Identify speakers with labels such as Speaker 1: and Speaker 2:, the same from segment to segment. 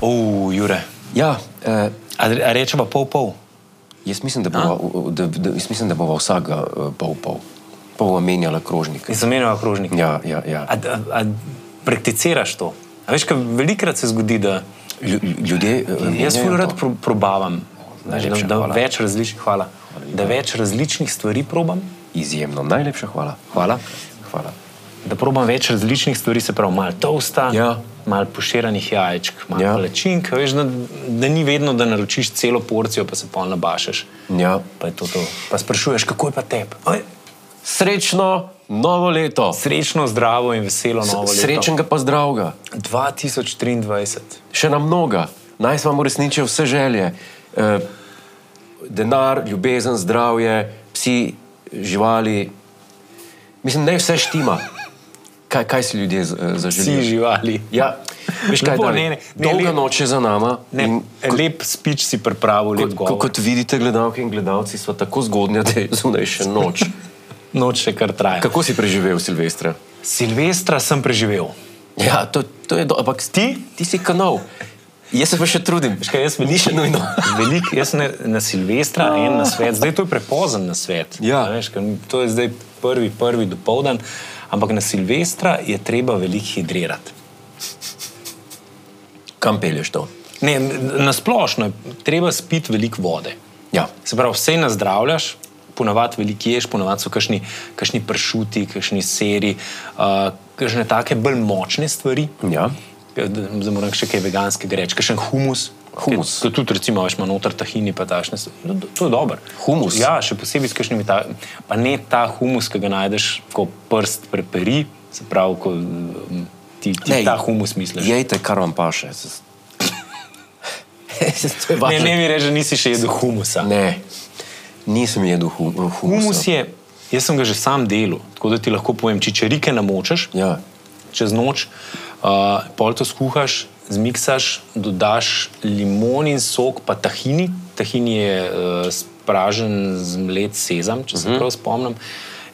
Speaker 1: Uf, Jure.
Speaker 2: Ja, eh,
Speaker 1: A, a rečemo pol pol.
Speaker 2: jaz mislim, da bova, da, da, jaz mislim, da bova vsaka eh, pol pol. Pa bova menjala krožnike.
Speaker 1: Izomenjava krožnik.
Speaker 2: Ja, ja, ja.
Speaker 1: A, a, a prakticiraš to? A veš, kaj velikrat se zodi, da
Speaker 2: Lju- Ljudje. eh,
Speaker 1: jaz
Speaker 2: menjajo
Speaker 1: zelo
Speaker 2: to.
Speaker 1: rad pro, probavam, znaš,
Speaker 2: Najlepša
Speaker 1: da, da
Speaker 2: hvala.
Speaker 1: več različnih, hvala, da več različnih stvari probam,
Speaker 2: Izjemno. Najlepša hvala. Hvala. hvala.
Speaker 1: da probam več različnih stvari, se pravi, malo tosta,
Speaker 2: Ja.
Speaker 1: malo poširanih jajčk, malo
Speaker 2: Ja.
Speaker 1: ja. lečink, veš, da, da ni vedno, da naročiš celo porcijo, pa se pol nabašeš.
Speaker 2: Ja.
Speaker 1: Pa je to to. Pa sprašuješ, kako je pa tebi. Oj,
Speaker 2: Srečno novo leto.
Speaker 1: Srečno, zdravo in veselo novo leto.
Speaker 2: Srečnega pa zdravega.
Speaker 1: 2023.
Speaker 2: še na mnoga. Naj se vam uresničijo vse želje. E, denar, ljubezen, zdravje, psi, živali. Mislim, da je vse štima. Kaj, kaj si ljudje z- eh,
Speaker 1: Vsi
Speaker 2: zaželijo?
Speaker 1: živali.
Speaker 2: Ja, veš kaj,
Speaker 1: Lepo,
Speaker 2: David?
Speaker 1: ne, ne, ne,
Speaker 2: dolga
Speaker 1: lep-
Speaker 2: noč je za nama.
Speaker 1: Ne,
Speaker 2: in
Speaker 1: lep speech si pripravil, lep
Speaker 2: Kot, kot,
Speaker 1: govor.
Speaker 2: kot vidite, gledalke in gledalci so tako zgodnja, da je zunaj še noč.
Speaker 1: Noč še kar traja.
Speaker 2: Kako si preživel, Silvestra?
Speaker 1: Silvestra sem preživel.
Speaker 2: Ja, to, to je do, ampak ti, ti si kanal. Jaz se pa še trudim.
Speaker 1: Veš Kaj, jaz
Speaker 2: Ni še nujno.
Speaker 1: Veliko, jaz ne, na Silvestra en na svet, zdaj to je prepozen na svet.
Speaker 2: Ja.
Speaker 1: A Veš, ker to je zdaj prvi, prvi dopoldan, ampak na Silvestra je treba veliko hidrirati.
Speaker 2: Kam pelješ to?
Speaker 1: Ne, na splošno je treba spiti veliko vode.
Speaker 2: Ja.
Speaker 1: Se pravi, vse nazdravljaš, ponavadi veliko ješ, ponavadi so kakšni, kakšni pršuti, kakšni seri, uh, kakšne take bolj močne stvari.
Speaker 2: Ja.
Speaker 1: Ke- da- Zdaj moram še kaj veganskega reči, kakšen humus.
Speaker 2: Humus.
Speaker 1: To tudi, recimo, veš, ima noter tahini, pa tašne. No, to- to je dobro.
Speaker 2: Humus?
Speaker 1: Ja, še posebej s kakšnimi ta, pa ne ta humus, ki ga najdeš, ko prst preperi, se pravi, ko mm, ti, ti
Speaker 2: Ne,
Speaker 1: ta humus misliš.
Speaker 2: Jejte, kar vam paše. Se- to je vaše.
Speaker 1: ne, ne mi reži, nisi še jedel humusa.
Speaker 2: ne. Nisem jedel hum, humusa.
Speaker 1: Humus je, jaz sem ga že sam delal, tako da ti lahko povem, če čerike namočeš
Speaker 2: Ja.
Speaker 1: čez noč, uh, pol to skuhaš, zmiksaš, dodaš limonin sok, pa tahini. Tahini je uh, spražen z mlet sezam, če se
Speaker 2: Mhm.
Speaker 1: uh -huh. prav spomnim.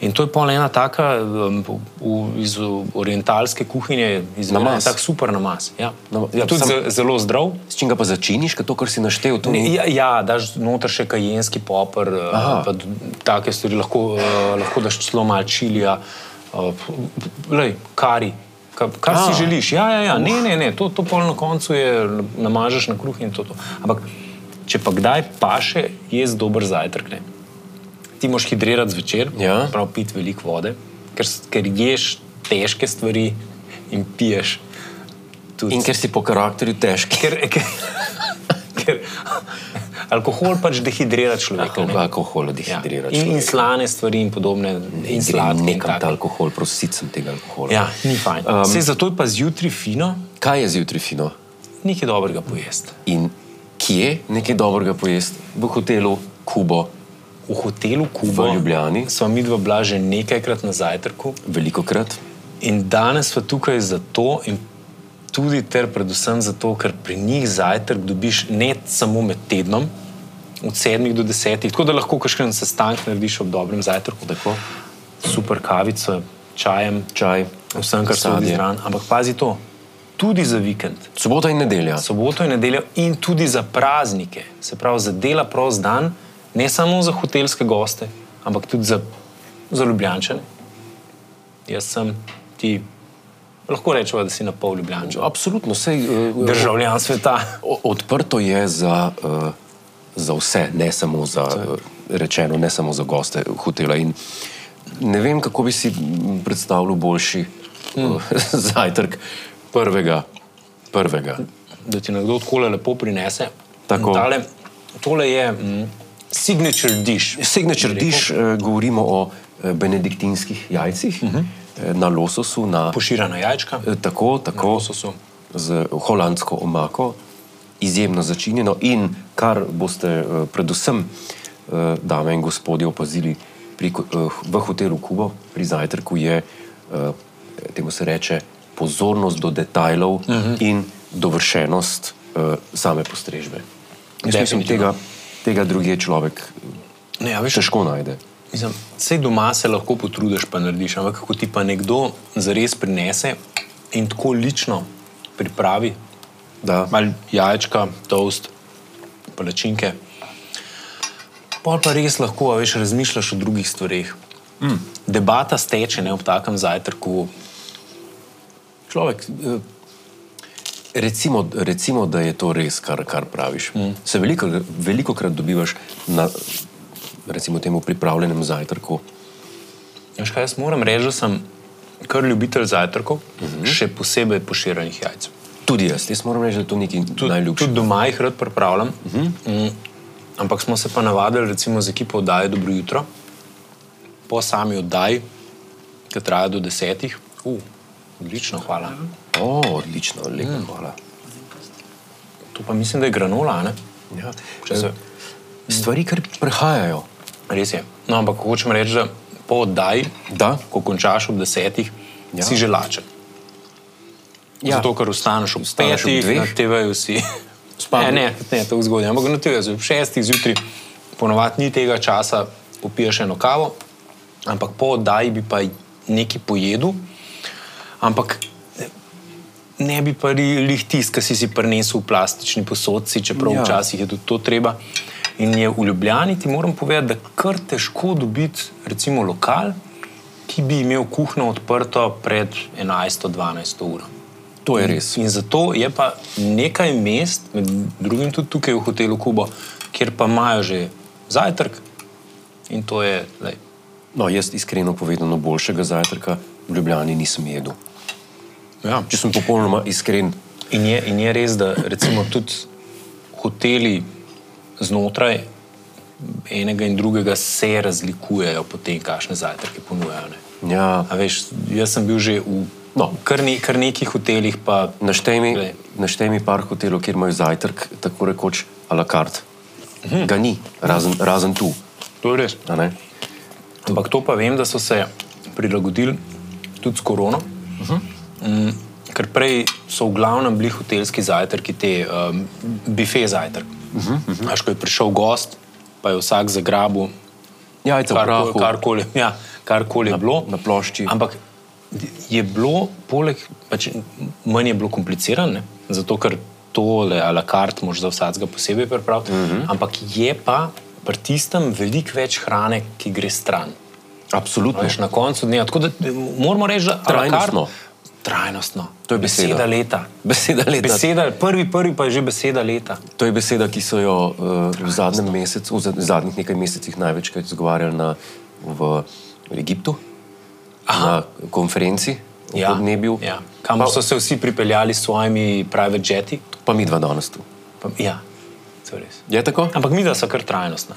Speaker 1: In to je pol ena taka um, v, iz orientalske kuhinje, iz
Speaker 2: Namaz.
Speaker 1: Tak super namaz. Ja.
Speaker 2: Nama- ja,
Speaker 1: ja, Tudi
Speaker 2: sam-
Speaker 1: sam... zelo zdrav.
Speaker 2: S čim ga pa začiniš, ker to, kar si naštel, to
Speaker 1: Ne,
Speaker 2: ni.
Speaker 1: ja, ja, daš noter še kajenski popr, eh,
Speaker 2: Aha.
Speaker 1: pa d- take stvari, lahko, eh, lahko daš celo malo čilija, eh, lej, kari. Kar, kar
Speaker 2: A.
Speaker 1: si želiš. Ja, ja, ja. Ne, ne, ne. To, to pol na koncu je, namažeš na kruh in to. to. Ampak, če pa kdaj paše, je dober zajtrk. Ne? Ti moš hidrirati zvečer,
Speaker 2: Ja.
Speaker 1: prav piti veliko vode, ker, s- ker ješ težke stvari in piješ. Tudi
Speaker 2: In ker si po karakterju težki.
Speaker 1: ker, ker, ker alkohol pač dehidrira človeka. ne.
Speaker 2: Alkohol
Speaker 1: Ja.
Speaker 2: dehidrira.
Speaker 1: In, in slane stvari, in podobne, in sladke. in
Speaker 2: Nekam ta
Speaker 1: take.
Speaker 2: alkohol, prosit sem tega alkohola.
Speaker 1: Ja, ni fajn.
Speaker 2: Um,
Speaker 1: Um, Sej, zato je pa zjutraj fino,
Speaker 2: Kaj je zjutraj fino?
Speaker 1: nekaj dobrega pojesti.
Speaker 2: In kje nekaj dobrega pojesti? V hotelu Kubo,
Speaker 1: V hotelu Kuba,
Speaker 2: V Ljubljani.
Speaker 1: smo mi dva bila že nekajkrat na zajtrku
Speaker 2: veliko krat.
Speaker 1: in danes smo tukaj zato. in Tudi ter predvsem zato, ker pri njih zajtrk dobiš ne samo med tednom, od sedmih do desetih, tako da lahko kakšen sestanek narediš ob dobrem zajtrku.
Speaker 2: Tako?
Speaker 1: super kavico, čajem,
Speaker 2: Čaj.
Speaker 1: vsem, kar se
Speaker 2: sadje.
Speaker 1: vidi zraven. Ampak pazi to, tudi za vikend,
Speaker 2: Sobota in nedelja.
Speaker 1: soboto in nedeljo, in tudi za praznike, se pravi za dela prost dan, ne samo za hotelske goste, ampak tudi za, za ljubljančane. Jaz sem ti, lahko rečemo, da si na pol ljubljančan.
Speaker 2: Absolutno, sej, eh,
Speaker 1: Državljan sveta.
Speaker 2: O- Odprto je za, uh, za vse, ne samo za, uh, rečeno, ne samo za goste hotela. In ne vem, kako bi si m, predstavljal boljši mm.
Speaker 1: Hmm.
Speaker 2: zajtrk prvega. prvega.
Speaker 1: da ti nekdo tako lepo prinese.
Speaker 2: Tako.
Speaker 1: Tale, tole je mm, signature dish.
Speaker 2: Signature diš, uh, govorimo o eh, benediktinskih jajcih,
Speaker 1: Mhm.
Speaker 2: uh -huh. na lososu, na,
Speaker 1: Poširana jajčka.
Speaker 2: eh, tako, tako.
Speaker 1: lososu.
Speaker 2: z holandsko omako, izjemno začinjeno in kar boste eh, predvsem, eh, dame in gospodje, opazili pri, ko- eh, v hotelu Kubo pri zajtrku, je, eh, temu se reče, pozornost do detajlov uh
Speaker 1: Mhm.
Speaker 2: -huh. in dovršenost eh, same postrežbe. Jaz mislim,
Speaker 1: Definitivno.
Speaker 2: tega, tega drugje človek
Speaker 1: Ne, a veš,
Speaker 2: težko najde.
Speaker 1: Mislim, vse doma se lahko potrudiš, pa narediš, ampak ko ti pa nekdo zares prinese in tako lično pripravi,
Speaker 2: Da.
Speaker 1: malo jajčka, toast, palačinke, pol pa res lahko, a veš, razmišljaš o drugih stvareh. Mm. Debata steče ne, ob takem zajtrku. Človek, eh,
Speaker 2: Recimo, recimo, da je to res, kar, kar praviš. Mm. Se veliko, veliko krat dobivaš na recimo, temu pripravljenem zajtrku.
Speaker 1: veš kaj, jaz moram reči, da sem kar ljubitelj zajtrkov, mm -hmm. še posebej poširanih jajc.
Speaker 2: Tudi jaz, jaz moram reči, da je to nekaj
Speaker 1: Tudi,
Speaker 2: najljubšega.
Speaker 1: tudi doma jih rad pripravljam. Uh -huh. Ampak smo se pa navadili, recimo, z ekipo oddaje Dobro jutro, po sami oddaji, ki traja do desetih. Uh, odlično, hvala.
Speaker 2: O, odlično, lepo, mm. hvala.
Speaker 1: To pa mislim, da je granola, a ne?
Speaker 2: Ja. Eh,
Speaker 1: Če se,
Speaker 2: Stvari, kar prehajajo.
Speaker 1: res je. No, ampak hočem reči, da po oddaji,
Speaker 2: Da.
Speaker 1: ko končaš ob desetih, ja.
Speaker 2: Ja.
Speaker 1: si že lačen. Ja.
Speaker 2: Ja.
Speaker 1: Zato, ker ostaneš ob
Speaker 2: Vstaneš ob
Speaker 1: petih,
Speaker 2: dveh.
Speaker 1: na TV-ju si.
Speaker 2: Spadel.
Speaker 1: Ne, ne, ne tako zgodaj. Ampak na TV-ju si ob šestih zjutraj, ponovadi ni tega časa, popiješ eno kavo, ampak po oddaji bi pa nekaj pojedel, ampak ne bi pa lih tisk, ki si si prinesel v plastični posodci, čeprav ja.
Speaker 2: Ja.
Speaker 1: včasih je tudi to treba. In je v Ljubljani, ti moram povedati, da je kar težko dobiti, recimo, lokal, ki bi imel kuhno odprto pred 11-12 uro.
Speaker 2: To
Speaker 1: Mm.
Speaker 2: je res.
Speaker 1: In zato je pa nekaj mest, med drugim tudi tukaj v hotelu Kubo, kjer pa imajo že zajtrk in to je. Lej,
Speaker 2: No, jaz iskreno povedano, boljšega zajtrka v Ljubljani nisem jedel.
Speaker 1: ja.
Speaker 2: Če sem popolnoma iskren,
Speaker 1: In je, in je res, da recimo tudi hoteli znotraj enega in drugega se razlikujejo po tem, kakšne zajtrke ponujajo. Ne?
Speaker 2: ja,
Speaker 1: A Veš, jaz sem bil že v no. kar, ne, kar nekih hotelih, pa
Speaker 2: naštej mi,
Speaker 1: Glej.
Speaker 2: naštej mi par hotelov, kjer imajo zajtrk, tako rekoč, a la carte. Mhm. Ga ni, razen, razen tu.
Speaker 1: to je res.
Speaker 2: a ne?
Speaker 1: Ampak to pa vem, da so se prilagodili tudi s korono. Uh -huh. Ker prej so v glavnem bili hotelski zajtrki, te um, bife zajtrk. Uh -huh, uh -huh. Až ko je prišel gost, pa je vsak zagrabil
Speaker 2: Jajca v
Speaker 1: kar,
Speaker 2: prahu.
Speaker 1: kar koli ja, karkoli je bilo.
Speaker 2: na plošči.
Speaker 1: Ampak je bilo, poleg, pač, manj je bilo komplicirano, ne, zato ker tole a la carte moš za vsakega posebej pripraviti. Mm
Speaker 2: Mhm.
Speaker 1: -hmm. Ampak je pa pri tistem veliko več hrane, ki gre stran.
Speaker 2: Absolutno.
Speaker 1: Veš, na koncu dneva. Tako da eh, moramo reči, da a la carte-
Speaker 2: Trajnostno.
Speaker 1: Trajnostno.
Speaker 2: To je beseda.
Speaker 1: beseda leta.
Speaker 2: Beseda leta.
Speaker 1: Beseda, prvi, prvi pa je že beseda leta.
Speaker 2: To je beseda, ki so jo uh, v zadnjem mesecu, v za- zadnjih nekaj mesecih največkrat izgovarjali na, v Egiptu, Aha. na konferenci o ja. podnebju.
Speaker 1: ja. kamor so se vsi pripeljali s svojimi private jeti.
Speaker 2: Pa mi dva danes tu.
Speaker 1: Pa, ja, to je res.
Speaker 2: Je tako?
Speaker 1: Ampak mi, da so kar trajnostna.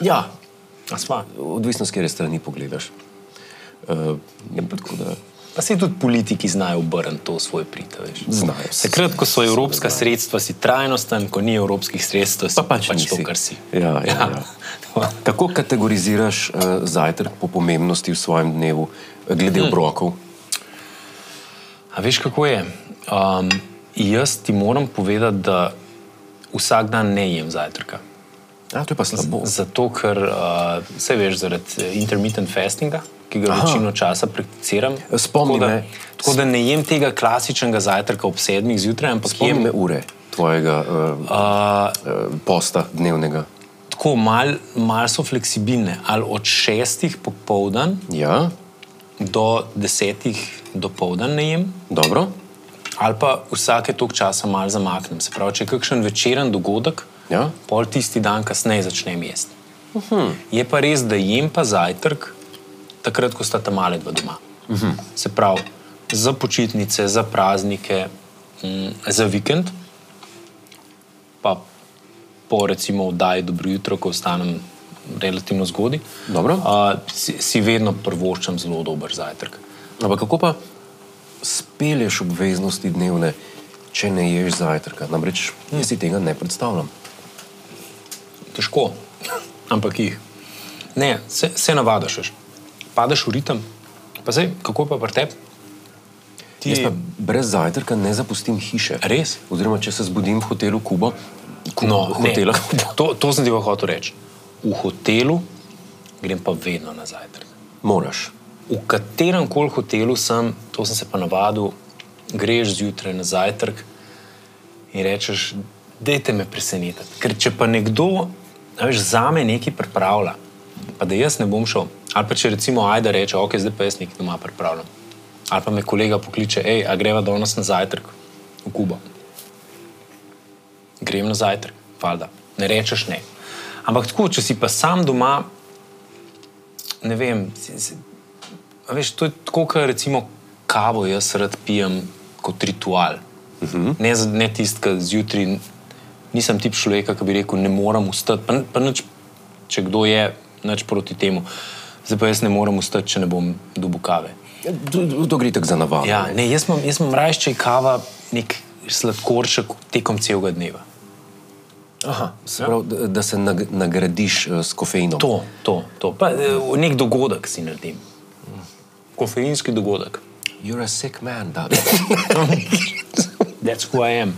Speaker 2: Ja.
Speaker 1: A sva.
Speaker 2: Odvisno, s katere strani pogledaš. Uh, tako da
Speaker 1: Pa se tudi politiki znajo obrniti to v svoj prid. a veš.
Speaker 2: znajo. se.
Speaker 1: Takrat, ko so evropska sredstva, si trajnosten, ko ni evropskih sredstev, si
Speaker 2: Pa pač,
Speaker 1: pač to,
Speaker 2: nisi.
Speaker 1: kar si.
Speaker 2: Ja, ja, ja. Kako kategoriziraš uh, zajtrk po pomembnosti v svojem dnevu, eh, glede hmm. obrokov?
Speaker 1: A veš, kako je? Um, jaz ti moram povedati, da vsak dan ne jem zajtrka.
Speaker 2: A, to je pa slabo.
Speaker 1: Zato, ker uh, se veš, zaradi eh, intermittent fastinga, ki ga Aha.
Speaker 2: Aha.
Speaker 1: večino časa prakticiram.
Speaker 2: Spomni
Speaker 1: tako da,
Speaker 2: me.
Speaker 1: tako da ne jem tega klasičnega zajtrka ob sedmih zjutraj, ampak jem
Speaker 2: Pomembne ure tvojega uh,
Speaker 1: uh,
Speaker 2: uh, posta dnevnega.
Speaker 1: tako malo mal so fleksibilne, ali od šestih popoldan
Speaker 2: Ja,
Speaker 1: do desetih dopoldan ne jem,
Speaker 2: dobro.
Speaker 1: ali pa vsake tok časa malo zamaknem. Se pravi, če je kakšen večeren dogodek,
Speaker 2: Ja.
Speaker 1: pol tisti dan kasneje začnem jesti. Uh -huh. Je pa res, da jem pa zajtrk, takrat, ko sta tam male dva doma. Uh
Speaker 2: Mhm.
Speaker 1: -huh. Se pravi, za počitnice, za praznike, m, za vikend, pa po recimo oddaji Dobro jutro, ko ostanem relativno zgodaj,
Speaker 2: Dobro.
Speaker 1: a, si, si vedno prvoščam zelo dober zajtrk.
Speaker 2: Ampak kako pa speleš obveznosti dnevne, če ne ješ zajtrka? Namreč jaz si tega ne predstavljam.
Speaker 1: težko, ampak jih. Ne, se, se navadiš, veš. padeš v ritem. Pa zdaj, kako je pa pri tebi? Ti
Speaker 2: Jaz pa brez zajtrka ne zapustim hiše.
Speaker 1: Res?
Speaker 2: Oziroma, če se zbudim v hotelu Kuba,
Speaker 1: no,
Speaker 2: v hotelah.
Speaker 1: ne. To, to sem ti pa hotel reči. v hotelu grem pa vedno na zajtrk.
Speaker 2: Moraš.
Speaker 1: V katerem koli hotelu sem, to sem se pa navadil, greš zjutraj na zajtrk in rečeš, dajte me presenetiti. Ker če pa nekdo a veš, za me nekaj pripravlja, pa da jaz ne bom šel, ali pa če recimo Aida reče, ok, zdaj pa jaz nekaj doma pripravljam, ali pa me kolega pokliče, hej, a greva danes na zajtrk v Kubo. Grem na zajtrk, valjda, ne rečeš ne. Ampak tako, če si pa sam doma, ne vem, si, si, a veš, to je tako, kot recimo kavo jaz rad pijem kot ritual. Uh -huh. Ne, za- ne tisti, ki zjutraj nisem tip človeka, ki bi rekel, ne morem vstati. Pa, pa nič, če kdo je, nič proti temu. Zdaj pa jaz ne morem vstati, če ne bom dobu kave.
Speaker 2: Ja, To, to gre tako za navado.
Speaker 1: Ja, ne, jaz imam, jaz imam raje, če je kava nek sladkorček tekom celega dneva. Aha,
Speaker 2: Se pravi, da, da se nag, nagradiš eh, s kofeinom.
Speaker 1: To, to, to. Pa, eh, nek dogodek si naredim. Kofeinski dogodek.
Speaker 2: You're a sick man, da.
Speaker 1: That's who I am.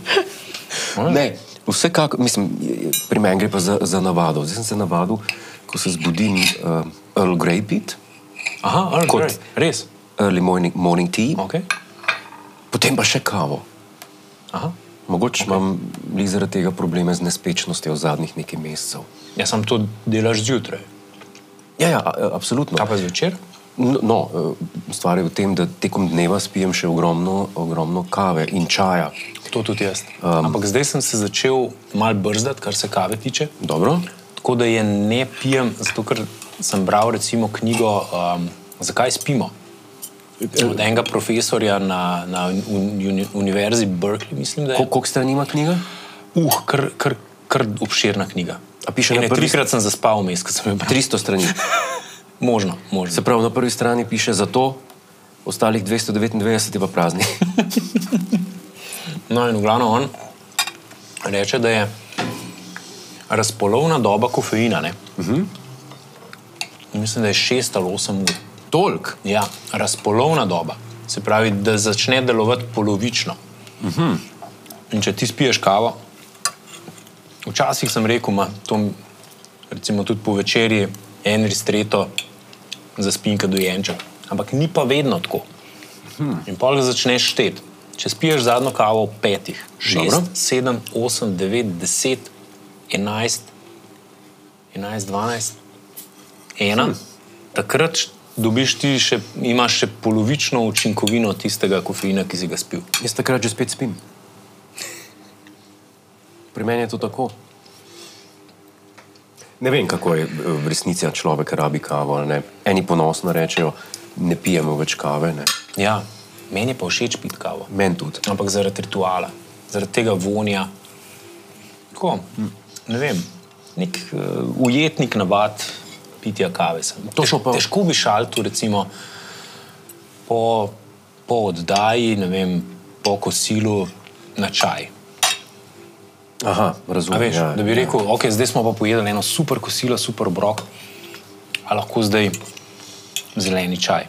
Speaker 2: ne, vsekakor, mislim, je- je- pri meni gre pa za, za navado. Zdaj sem se navadil, ko se zbudim uh, Earl Grey pit,
Speaker 1: Aha, Earl
Speaker 2: Kot-
Speaker 1: Grey. res.
Speaker 2: early morning, morning tea,
Speaker 1: Okay.
Speaker 2: potem pa še kavo.
Speaker 1: Aha.
Speaker 2: Mogoče okay. imam glih zaradi tega probleme z nespečnostjo v zadnjih nekaj mesecev.
Speaker 1: Ja, sam to delaš zjutraj.
Speaker 2: Ja, ja, a- a- absolutno.
Speaker 1: Kaj pa zvečer?
Speaker 2: No, no, eh, stvar je v tem, da tekom dneva spijem še ogromno, ogromno kave in čaja.
Speaker 1: To tudi jaz. Um, Ampak zdaj sem se začel malo brzdati, kar se kave tiče.
Speaker 2: Dobro?
Speaker 1: Tako da je ne pijem, zato ker sem bral recimo knjigo um, Zakaj spimo. Od enega profesorja na, na un, uni, univerzi Berkeley, mislim, da je.
Speaker 2: Ko- Koliko strani ima knjiga?
Speaker 1: Uh, kar, kar, kar obširna knjiga.
Speaker 2: A piše na
Speaker 1: ne,
Speaker 2: prvi-
Speaker 1: trikrat sem zaspal vmes, ko sem jo bral.
Speaker 2: 300 strani.
Speaker 1: Možno, možno.
Speaker 2: Se pravi, na prvi strani piše za to, ostalih 299 je pa prazni.
Speaker 1: No, in v glavnem on reče, da je razpolovna doba kofeina. Uh -huh. Mislim, da je 6 ali 8 ur.
Speaker 2: Tolk.
Speaker 1: Ja, razpolovna doba. Se pravi, da začne delovati polovično. Uh -huh. In če ti spiješ kavo, včasih sem rekel, ma, to mi- recimo tudi po večerji, en ristreto za spinka dojenček. Ampak ni pa vedno tako. Hmm. In pol ga začneš šteti. Če spiješ zadnjo kavo ob petih, šest,
Speaker 2: Dobro.
Speaker 1: sedem, osem, devet, deset, enajst, enajst, dvanajst, ena, hmm. takrat š- dobiš ti še, imaš še polovično učinkovino tistega kofeina, ki si ga spil.
Speaker 2: Jaz takrat že spet spim. Pri meni je to tako. Ne vem, kako je eh, v resnici, a človek rabi kavo ali ne. Eni ponosno rečejo, ne pijemo več kave. Ne.
Speaker 1: Ja, meni je pa všeč pit kavo.
Speaker 2: Meni tudi.
Speaker 1: ampak zaradi rituala, zaradi tega vonja. Tako, ne vem, nek uh, ujetnik navad pitja kave. Sem.
Speaker 2: To so
Speaker 1: Tež-
Speaker 2: pa-
Speaker 1: Težko bi šaltu, recimo, po, po oddaji, ne vem, po kosilu na čaj.
Speaker 2: Aha,
Speaker 1: A
Speaker 2: razumem.
Speaker 1: Veš,
Speaker 2: ja,
Speaker 1: da bi
Speaker 2: ja.
Speaker 1: rekel, ok, zdaj smo pa pojedli eno super kosilo, super brok, a lahko zdaj zeleni čaj.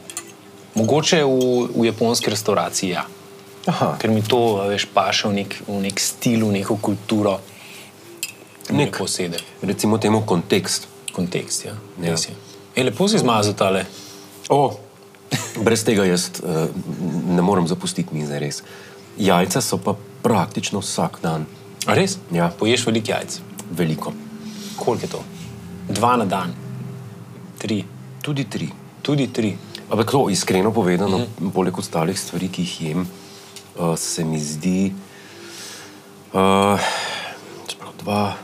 Speaker 1: Mogoče v, v japonski restauraciji ja.
Speaker 2: Aha,
Speaker 1: ker mi to, a veš, paše v nek, v nek stil, v neko kulturo, nek
Speaker 2: Nek-
Speaker 1: posebej
Speaker 2: recimo temu kontekst.
Speaker 1: kontekst. Ja.
Speaker 2: Ja.
Speaker 1: Ja. E, lepo si izmazal tale.
Speaker 2: O, brez tega jaz eh, ne morem zapustiti mize, res. Jajca so pa praktično vsak dan
Speaker 1: A Res?
Speaker 2: Ja.
Speaker 1: Poješ veliko jajc.
Speaker 2: veliko.
Speaker 1: Koliko je to? Dva na dan, tri,
Speaker 2: Tudi tri.
Speaker 1: tudi tri.
Speaker 2: Ampak to iskreno povedano, mm
Speaker 1: Mhm.
Speaker 2: -hmm. poleg ostalih stvari, ki jih jem, uh, se mi zdi, uh, dva,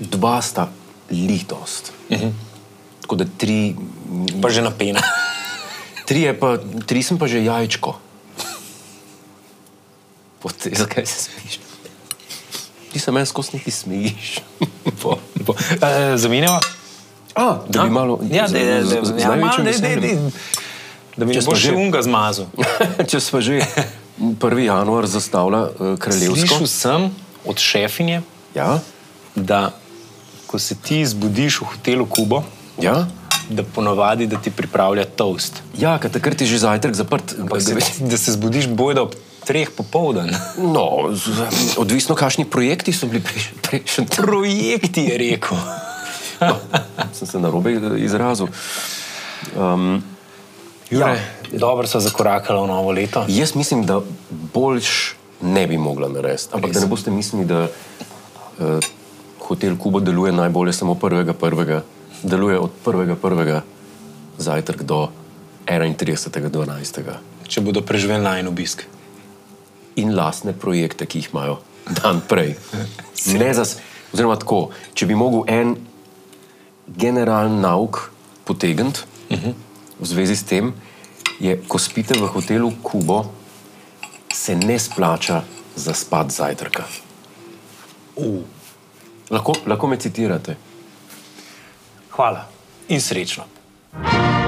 Speaker 2: dva sta litost. Mm
Speaker 1: Mhm.
Speaker 2: -hmm. Tako da tri,
Speaker 1: Pa že napena.
Speaker 2: tri, je pa, tri sem pa že jajčko. Potem, zakaj se smejiš? Ti se meni skozi nekaj smejiš. Po- po-
Speaker 1: e, zamenjava?
Speaker 2: A, da bi
Speaker 1: A?
Speaker 2: malo
Speaker 1: Ja,
Speaker 2: z-
Speaker 1: daj, daj,
Speaker 2: z- z-
Speaker 1: daj,
Speaker 2: z
Speaker 1: ja,
Speaker 2: največjim
Speaker 1: malo, daj, daj,
Speaker 2: veseljem.
Speaker 1: daj. Da mi
Speaker 2: Če
Speaker 1: ne
Speaker 2: smo
Speaker 1: boš še
Speaker 2: že-
Speaker 1: unga zmazal.
Speaker 2: Če smo že 1. januar zastavlja eh, kraljevsko.
Speaker 1: Slišal sem od šefinje,
Speaker 2: Ja,
Speaker 1: da ko se ti zbudiš v hotelu Kubo,
Speaker 2: ja.
Speaker 1: da ponovadi da ti pripravlja toast.
Speaker 2: ja ker takrat je že zajtrk zaprt.
Speaker 1: Ampak se, da se zbudiš bojda ob treh popoldan.
Speaker 2: No, z- odvisno, kakšni projekti so bili prejšnji. Prejšen.
Speaker 1: Ja. Projekt je rekel.
Speaker 2: No, sem se narobe eh, izrazil. Um,
Speaker 1: Ja, dobro so zakorakali v novo leto.
Speaker 2: Jaz mislim, da boljš ne bi mogla narediti. Ampak da ne boste mislili, da uh, hotel Kuba deluje najbolje samo prvega, prvega. Deluje od prvega, prvega zajtrk do 31.12.
Speaker 1: Če bodo preživeli na en obisk.
Speaker 2: in lastne projekte, ki jih imajo dan prej. Ne za, s- oziroma tako, če bi mogel en generalen nauk potegniti uh -huh. v zvezi s tem, je, ko spite v hotelu Kubo, se ne splača za spad zajtrka.
Speaker 1: Uh.
Speaker 2: Lahko, lahko me citirate.
Speaker 1: Hvala in srečno.